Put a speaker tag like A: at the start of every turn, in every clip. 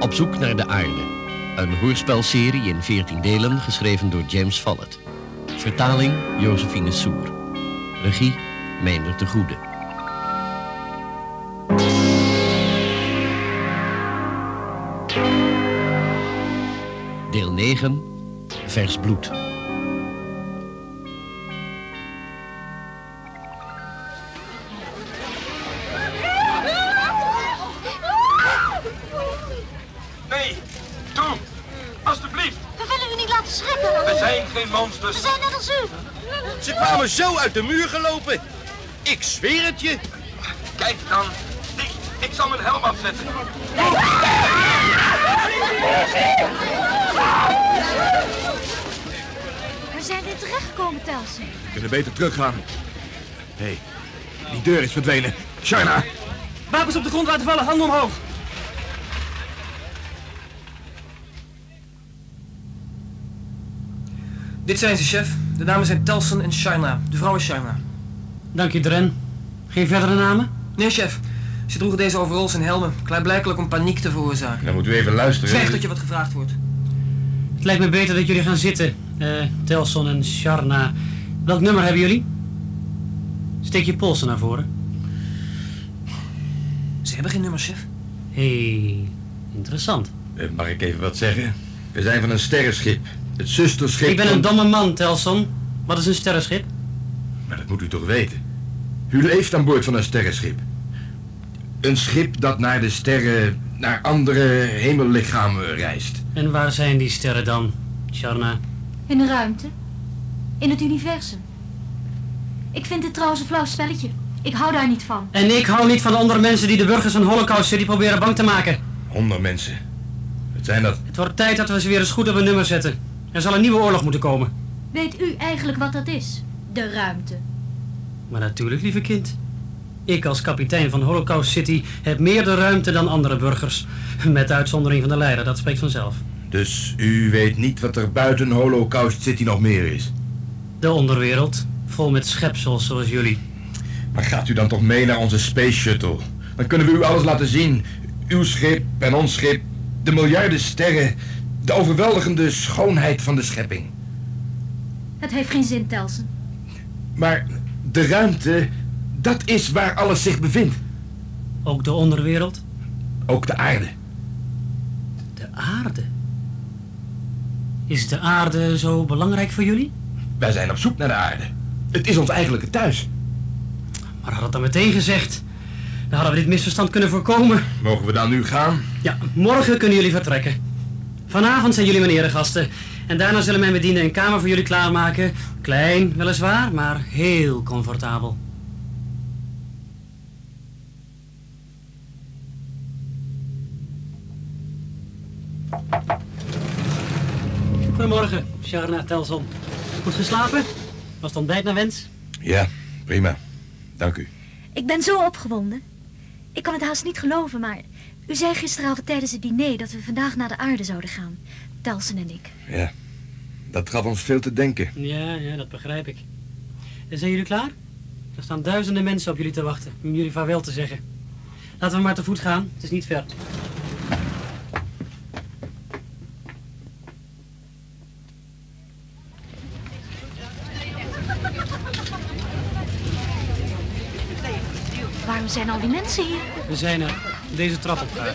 A: Op zoek naar de aarde. Een hoorspelserie in 14 delen geschreven door James Vallet. Vertaling Josephine Soer. Regie Meindert de Goede. Deel 9. Vers bloed.
B: Nee, toe! Alsjeblieft!
C: We willen u niet laten schrikken.
B: We zijn geen monsters.
C: We zijn net als u.
D: Ze kwamen zo uit de muur gelopen. Ik zweer het je.
B: Kijk dan. Ik, ik zal mijn helm afzetten.
C: We zijn weer terechtgekomen, Telsen.
D: We kunnen beter teruggaan. Hé, hey, die deur is verdwenen. Sharna,
E: Wapens op de grond laten vallen, handen omhoog. Dit zijn ze, chef. De namen zijn Telson en Shaina. De vrouw is Shaina.
F: Dank je, Dren. Geen verdere namen?
E: Nee, chef. Ze droegen deze overalls en helmen, klaarblijkelijk om paniek te veroorzaken.
D: dan moet u even luisteren.
E: Zeg dat je wat gevraagd wordt.
F: Het lijkt me beter dat jullie gaan zitten, eh, Telson en Sharna. Welk nummer hebben jullie? Steek je polsen naar voren.
E: Ze hebben geen nummer, chef.
F: Hé, hey, interessant.
D: Eh, Mag ik even wat zeggen? We zijn van een sterrenschip. Het zusterschip
F: Ik ben een
D: van-
F: domme man, Telson. Wat is een sterrenschip?
D: Maar dat moet u toch weten? U leeft aan boord van een sterrenschip. Een schip dat naar de sterren, naar andere hemellichamen reist.
F: En waar zijn die sterren dan, Sharna?
C: In de ruimte. In het universum. Ik vind dit trouwens een flauw spelletje. Ik hou daar niet van.
F: En ik hou niet van andere mensen die de burgers van Holocaust City proberen bang te maken.
D: Honderd mensen. Het zijn dat.
F: Het wordt tijd dat we ze weer eens goed op een nummer zetten. Er zal een nieuwe oorlog moeten komen.
C: Weet u eigenlijk wat dat is? De ruimte.
F: Maar natuurlijk, lieve kind. Ik als kapitein van Holocaust City heb meer de ruimte dan andere burgers. Met uitzondering van de leider, dat spreekt vanzelf.
D: Dus u weet niet wat er buiten Holocaust City nog meer is.
F: De onderwereld, vol met schepsels zoals jullie.
D: Maar gaat u dan toch mee naar onze space shuttle? Dan kunnen we u alles laten zien. Uw schip en ons schip, de miljarden sterren, de overweldigende schoonheid van de schepping.
C: Het heeft geen zin, Telsen.
D: Maar de ruimte, dat is waar alles zich bevindt.
F: Ook de onderwereld,
D: Ook de aarde.
F: de aarde. Is de aarde zo belangrijk voor jullie?
D: Wij zijn op zoek naar de aarde. Het is ons eigenlijke thuis.
F: Maar had het dan meteen gezegd? Dan hadden we dit misverstand kunnen voorkomen.
D: Mogen we dan nu gaan?
F: Ja, morgen kunnen jullie vertrekken. Vanavond zijn jullie mijn gasten. En daarna zullen mijn bedienden een kamer voor jullie klaarmaken. Klein, weliswaar, maar heel comfortabel. Goedemorgen, Sharna Telson. Goed geslapen? Was het ontbijt naar wens?
D: Ja, prima. Dank u.
C: Ik ben zo opgewonden. Ik kan het haast niet geloven, maar... U zei gisteravond tijdens het diner dat we vandaag naar de aarde zouden gaan. Telsen en ik.
D: Ja, dat gaf ons veel te denken.
F: Ja, ja, dat begrijp ik. En zijn jullie klaar? Er staan duizenden mensen op jullie te wachten om jullie vaarwel te zeggen. Laten we maar te voet gaan, het is niet ver.
C: Waarom zijn al die mensen hier?
F: We zijn er, deze trap opgaan.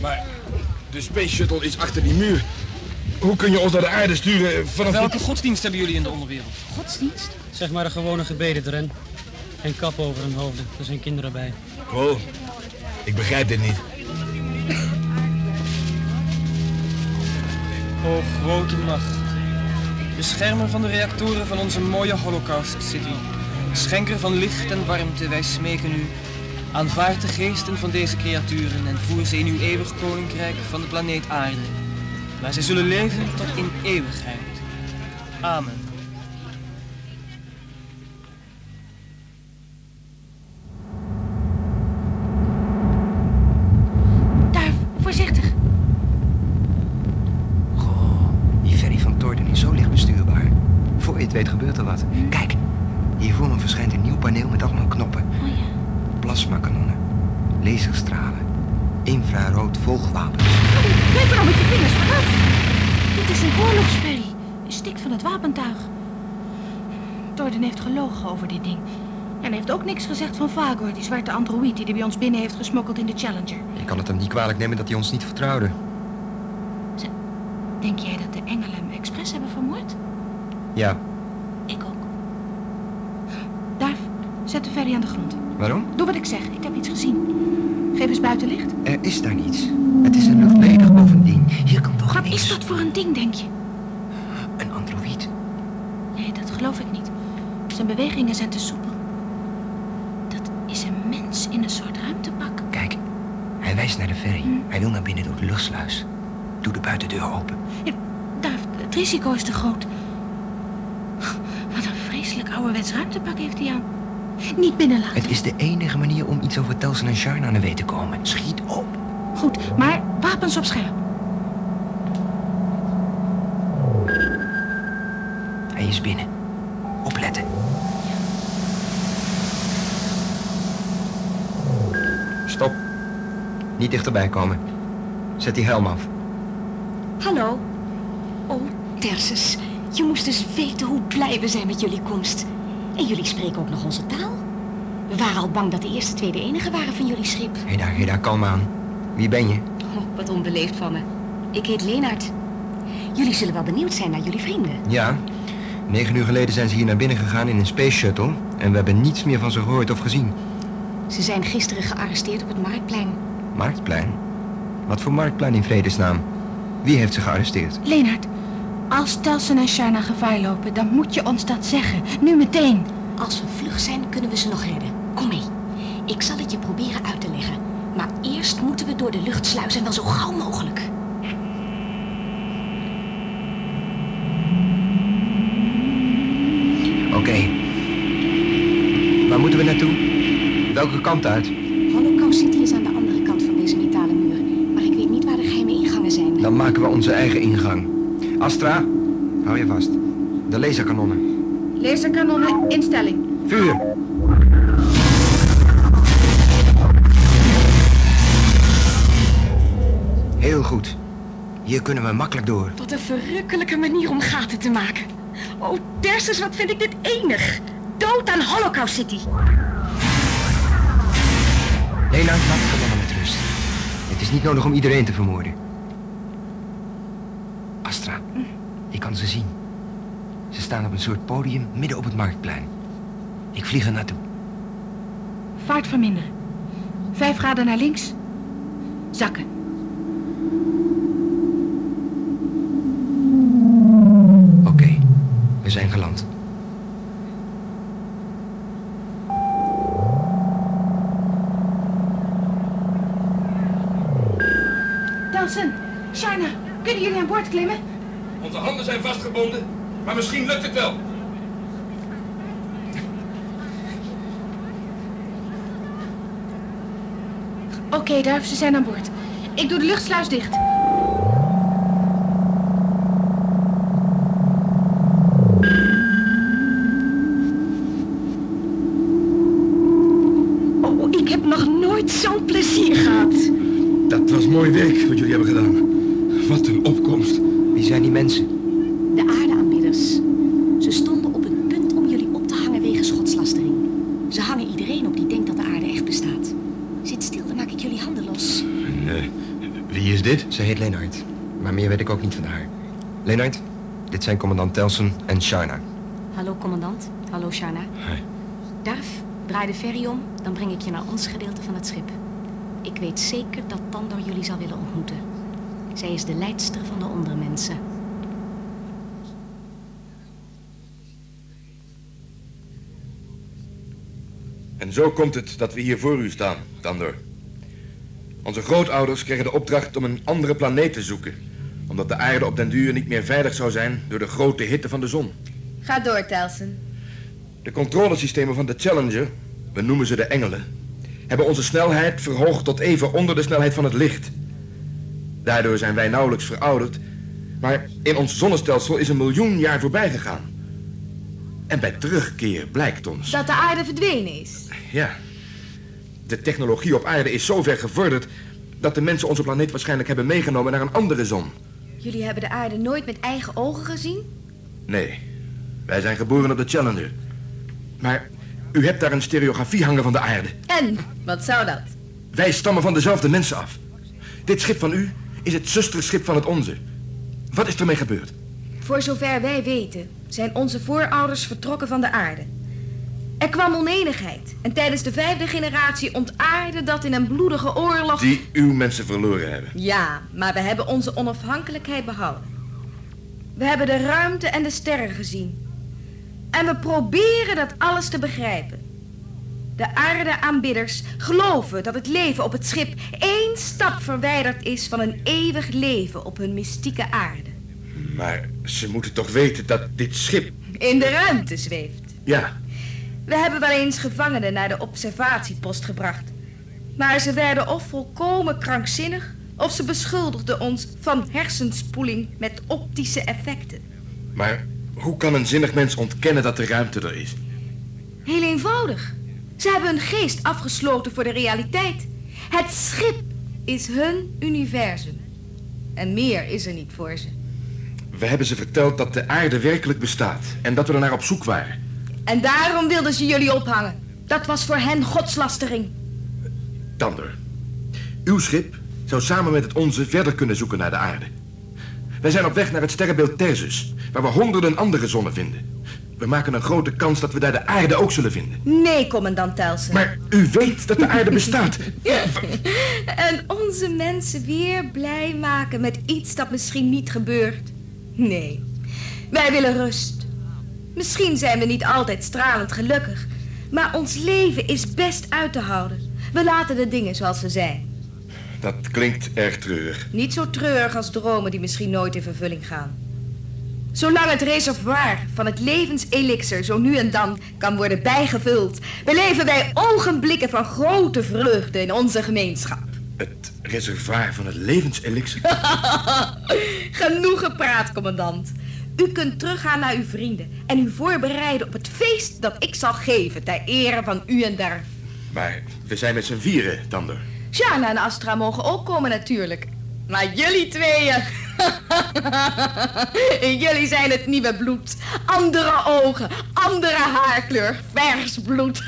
D: Maar de space shuttle is achter die muur. Hoe kun je ons naar de aarde sturen vanaf...
E: Welke godsdienst hebben jullie in de onderwereld?
C: Godsdienst?
F: Zeg maar de gewone gebeden, Dren. En kap over hun hoofden, er zijn kinderen bij.
D: Paul, ik begrijp dit niet.
E: O grote macht. Beschermer van de reactoren van onze mooie Holocaust City. Schenker van licht en warmte, wij smeken u. Aanvaard de geesten van deze creaturen en voer ze in uw eeuwig koninkrijk van de planeet Aarde. Waar zij zullen leven tot in eeuwigheid. Amen.
C: Daar, voorzichtig.
G: Goh, die ferry van Torden is zo licht bestuurbaar. Voor je het weet gebeurt er wat. Kijk, hier voor me verschijnt een nieuw paneel met allemaal knoppen.
C: Oh ja.
D: plasmakanonnen, laserstralen, infrarood vogelwapens.
H: Blijf er nou met je vingers vanaf. Dit is een oorlogsferry. Stikt van het wapentuig. Torden heeft gelogen over dit ding. En hij heeft ook niks gezegd van Vagor, die zwarte androïde die hij bij ons binnen heeft gesmokkeld in de Challenger.
D: Je kan het hem niet kwalijk nemen dat hij ons niet vertrouwde.
H: Denk jij dat de engelen hem expres hebben vermoord?
D: Ja,
H: Ik ook. Daar, zet de ferry aan de grond.
D: waarom?
H: Doe wat ik zeg, ik heb iets gezien. Geef eens buitenlicht.
D: Er is daar niets. Het is een luchtledige bovendien. Hier kan toch
H: Wat
D: niks?
H: is dat voor een ding, denk je?
D: Een androïd.
H: Nee, dat geloof ik niet. Zijn bewegingen zijn te soepel. Dat is een mens in een soort ruimtepak.
D: Kijk, hij wijst naar de ferry. Hij wil naar binnen door de luchtsluis. Doe de buitendeur open.
H: Daar, het risico is te groot. Wat een vreselijk ouderwets ruimtepak heeft hij aan. Niet binnenlaten.
D: Het is de enige manier om iets over Telsen en Sharna aan de weet te komen. Schiet op.
H: Goed, maar wapens op scherp.
D: Hij is binnen. Opletten. Stop. Niet dichterbij komen. Zet die helm af.
I: Hallo. Oh, Tersus. Je moest dus weten hoe blij we zijn met jullie komst. En jullie spreken ook nog onze taal. We waren al bang dat de eerste twee de enige waren van jullie schip.
D: Hé daar, hé daar, kalm aan. Wie ben je?
I: Oh, wat onbeleefd van me. Ik heet Leenaard. Jullie zullen wel benieuwd zijn naar jullie vrienden.
D: Ja. Negen uur geleden zijn ze hier naar binnen gegaan in een space shuttle. En we hebben niets meer van ze gehoord of gezien.
I: Ze zijn gisteren gearresteerd op het Marktplein.
D: Marktplein? Wat voor marktplein in vredesnaam? Wie heeft ze gearresteerd?
H: Leenhard, als Telsen en Sharna gevaar lopen, dan moet je ons dat zeggen. Nu meteen.
I: Als we vlug zijn, kunnen we ze nog redden. Kom mee. Ik zal het je proberen uit te leggen. Maar eerst moeten we door de luchtsluis en wel zo gauw mogelijk.
D: Oké. Waar moeten we naartoe? Welke kant uit?
I: Holocaust City is aan de andere kant van deze metalen muur. Maar ik weet niet waar de geheime ingangen zijn.
D: Dan maken we onze eigen ingang. Astra, hou je vast. De laserkanonnen.
H: Laserkanonnen, instelling.
D: Vuur! Heel goed. Hier kunnen we makkelijk door.
I: Wat een verrukkelijke manier om gaten te maken. Oh, Persis, wat vind ik dit enig. Dood aan Holocaust City.
D: Lena, laat de kanonnen met rust. Het is niet nodig om iedereen te vermoorden. Astra, ik kan ze zien. Ze staan op een soort podium midden op het marktplein. Ik vlieg er naartoe.
H: Vaart verminderen. Vijf graden naar links. Zakken.
D: Oké, we zijn geland.
H: Telsen, Sharna, kunnen jullie aan boord klimmen?
J: Onze handen zijn vastgebonden, maar misschien lukt het wel.
H: Oké, Duif, ze zijn aan boord. Ik doe de luchtsluis dicht.
I: Oh, ik heb nog nooit zo'n plezier gehad.
K: Dat was mooi werk wat jullie hebben gedaan. Wat een opkomst.
D: Wie zijn die mensen?
I: De aardeaanbidders. Ze stonden op het punt om jullie op te hangen wegens godslastering. Ze hangen iedereen op die denkt dat de aarde echt bestaat. Zit stil, dan maak ik jullie handen los.
K: Wie is dit?
D: Ze heet Lennart. Maar meer weet ik ook niet van haar. Lennart, dit zijn commandant Telsen en Sharna.
I: Hallo, commandant. Hallo, Sharna.
K: Hi.
I: Darf, draai de ferry om, dan breng ik je naar ons gedeelte van het schip. Ik weet zeker dat Tandor jullie zal willen ontmoeten. Zij is de leidster van de ondermensen.
K: En zo komt het dat we hier voor u staan, Tandor. Onze grootouders kregen de opdracht om een andere planeet te zoeken. Omdat de aarde op den duur niet meer veilig zou zijn door de grote hitte van de zon.
L: Ga door, Telsen.
K: De controlesystemen van de Challenger, we noemen ze de engelen, hebben onze snelheid verhoogd tot even onder de snelheid van het licht. Daardoor zijn wij nauwelijks verouderd, maar in ons zonnestelsel is een miljoen jaar voorbij gegaan. En bij terugkeer blijkt ons.
L: Dat de aarde verdwenen is.
K: Ja.
D: De technologie op aarde is zo ver gevorderd dat de mensen onze planeet waarschijnlijk hebben meegenomen naar een andere zon.
L: Jullie hebben de aarde nooit met eigen ogen gezien?
D: Nee, wij zijn geboren op de Challenger. Maar u hebt daar een stereografie hangen van de aarde.
L: En, wat zou dat?
D: Wij stammen van dezelfde mensen af. Dit schip van u is het zusterschip van het onze. Wat is ermee gebeurd?
L: Voor zover wij weten, zijn onze voorouders vertrokken van de aarde. Er kwam onenigheid. En tijdens de vijfde generatie ontaarde dat in een bloedige oorlog...
D: Die uw mensen verloren hebben.
L: Ja, maar we hebben onze onafhankelijkheid behouden. We hebben de ruimte en de sterren gezien. En we proberen dat alles te begrijpen. De aarde-aanbidders geloven dat het leven op het schip één stap verwijderd is van een eeuwig leven op hun mystieke aarde.
D: Maar ze moeten toch weten dat dit schip...
L: In de ruimte zweeft.
D: Ja,
L: We hebben wel eens gevangenen naar de observatiepost gebracht. Maar ze werden of volkomen krankzinnig, of ze beschuldigden ons van hersenspoeling met optische effecten.
D: maar hoe kan een zinnig mens ontkennen dat de ruimte er is?
L: Heel eenvoudig. Ze hebben hun geest afgesloten voor de realiteit. Het schip is hun universum. En meer is er niet voor ze.
D: We hebben ze verteld dat de aarde werkelijk bestaat en dat we er naar op zoek waren.
L: En daarom wilden ze jullie ophangen. Dat was voor hen godslastering.
D: Tander, uw schip zou samen met het onze verder kunnen zoeken naar de aarde. Wij zijn op weg naar het sterrenbeeld Tersus, waar we honderden andere zonnen vinden. We maken een grote kans dat we daar de aarde ook zullen vinden.
L: Nee, commandant Telsen.
D: Maar u weet dat de aarde bestaat.
L: En onze mensen weer blij maken met iets dat misschien niet gebeurt. Nee, wij willen rust. Misschien zijn we niet altijd stralend gelukkig, maar ons leven is best uit te houden. We laten de dingen zoals ze zijn.
D: Dat klinkt erg treurig.
L: Niet zo treurig als dromen die misschien nooit in vervulling gaan. Zolang het reservoir van het levenselixer zo nu en dan kan worden bijgevuld, beleven wij ogenblikken van grote vreugde in onze gemeenschap.
D: Het reservoir van het levenselixer.
L: Genoeg gepraat, commandant. U kunt teruggaan naar uw vrienden en u voorbereiden op het feest dat ik zal geven ter ere van u en daar.
D: Maar we zijn met z'n vieren, Tander.
L: Shana en Astra mogen ook komen natuurlijk. Maar jullie tweeën... jullie zijn het nieuwe bloed. Andere ogen, andere haarkleur, vers bloed.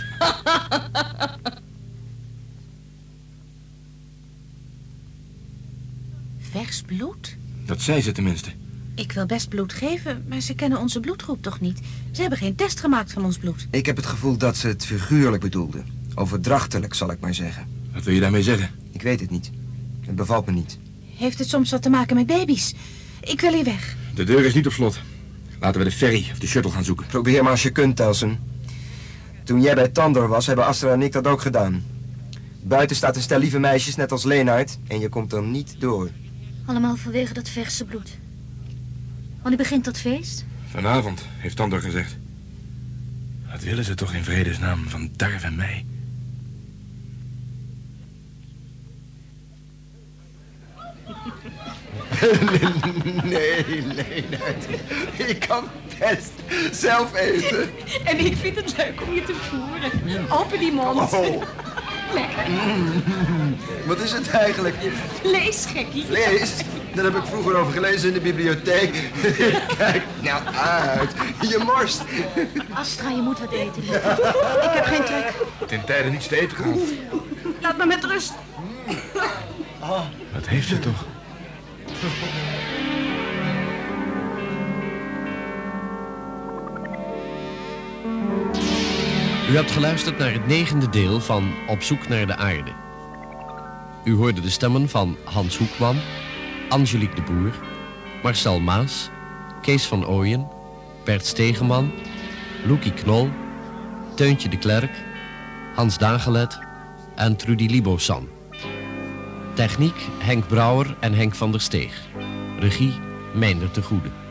H: Vers bloed?
D: Dat zei ze tenminste.
H: Ik wil best bloed geven, maar ze kennen onze bloedgroep toch niet? Ze hebben geen test gemaakt van ons bloed.
G: Ik heb het gevoel dat ze het figuurlijk bedoelde. Overdrachtelijk, zal ik maar zeggen.
D: Wat wil je daarmee zeggen?
G: Ik weet het niet. Het bevalt me niet.
H: Heeft het soms wat te maken met baby's? Ik wil hier weg.
D: De deur is niet op slot. Laten we de ferry of de shuttle gaan zoeken.
G: Probeer maar als je kunt, Telsen. Toen jij bij Tandor was, hebben Astra en ik dat ook gedaan. Buiten staat een stel lieve meisjes, net als Leenaard, en je komt er niet door.
C: Allemaal vanwege dat verse bloed. Wanneer begint dat feest?
D: Vanavond, heeft Tander gezegd. Wat willen ze toch in vredesnaam van Darf en mij?
G: Nee, Leenaard. Ik kan best zelf eten.
H: En ik vind het leuk om je te voeren. Open die mond.
G: Oh. Wat is het eigenlijk?
H: Lees, gekkie.
G: Vlees? Daar heb ik vroeger over gelezen in de bibliotheek. Kijk nou uit. Je morst.
C: Astra, je moet wat eten.
H: Ik heb geen trek.
D: Ten tijde niets te eten gehad.
H: Laat me met rust.
D: Wat heeft ze toch?
A: U hebt geluisterd naar het negende deel van Op zoek naar de aarde. U hoorde de stemmen van Hans Hoekman, Angelique de Boer, Marcel Maas, Kees van Ooyen, Bert Stegeman, Loekie Knol, Teuntje de Klerk, Hans Dagelet en Trudy Libosan. Techniek Henk Brouwer en Henk van der Steeg. Regie Meinder de Goede.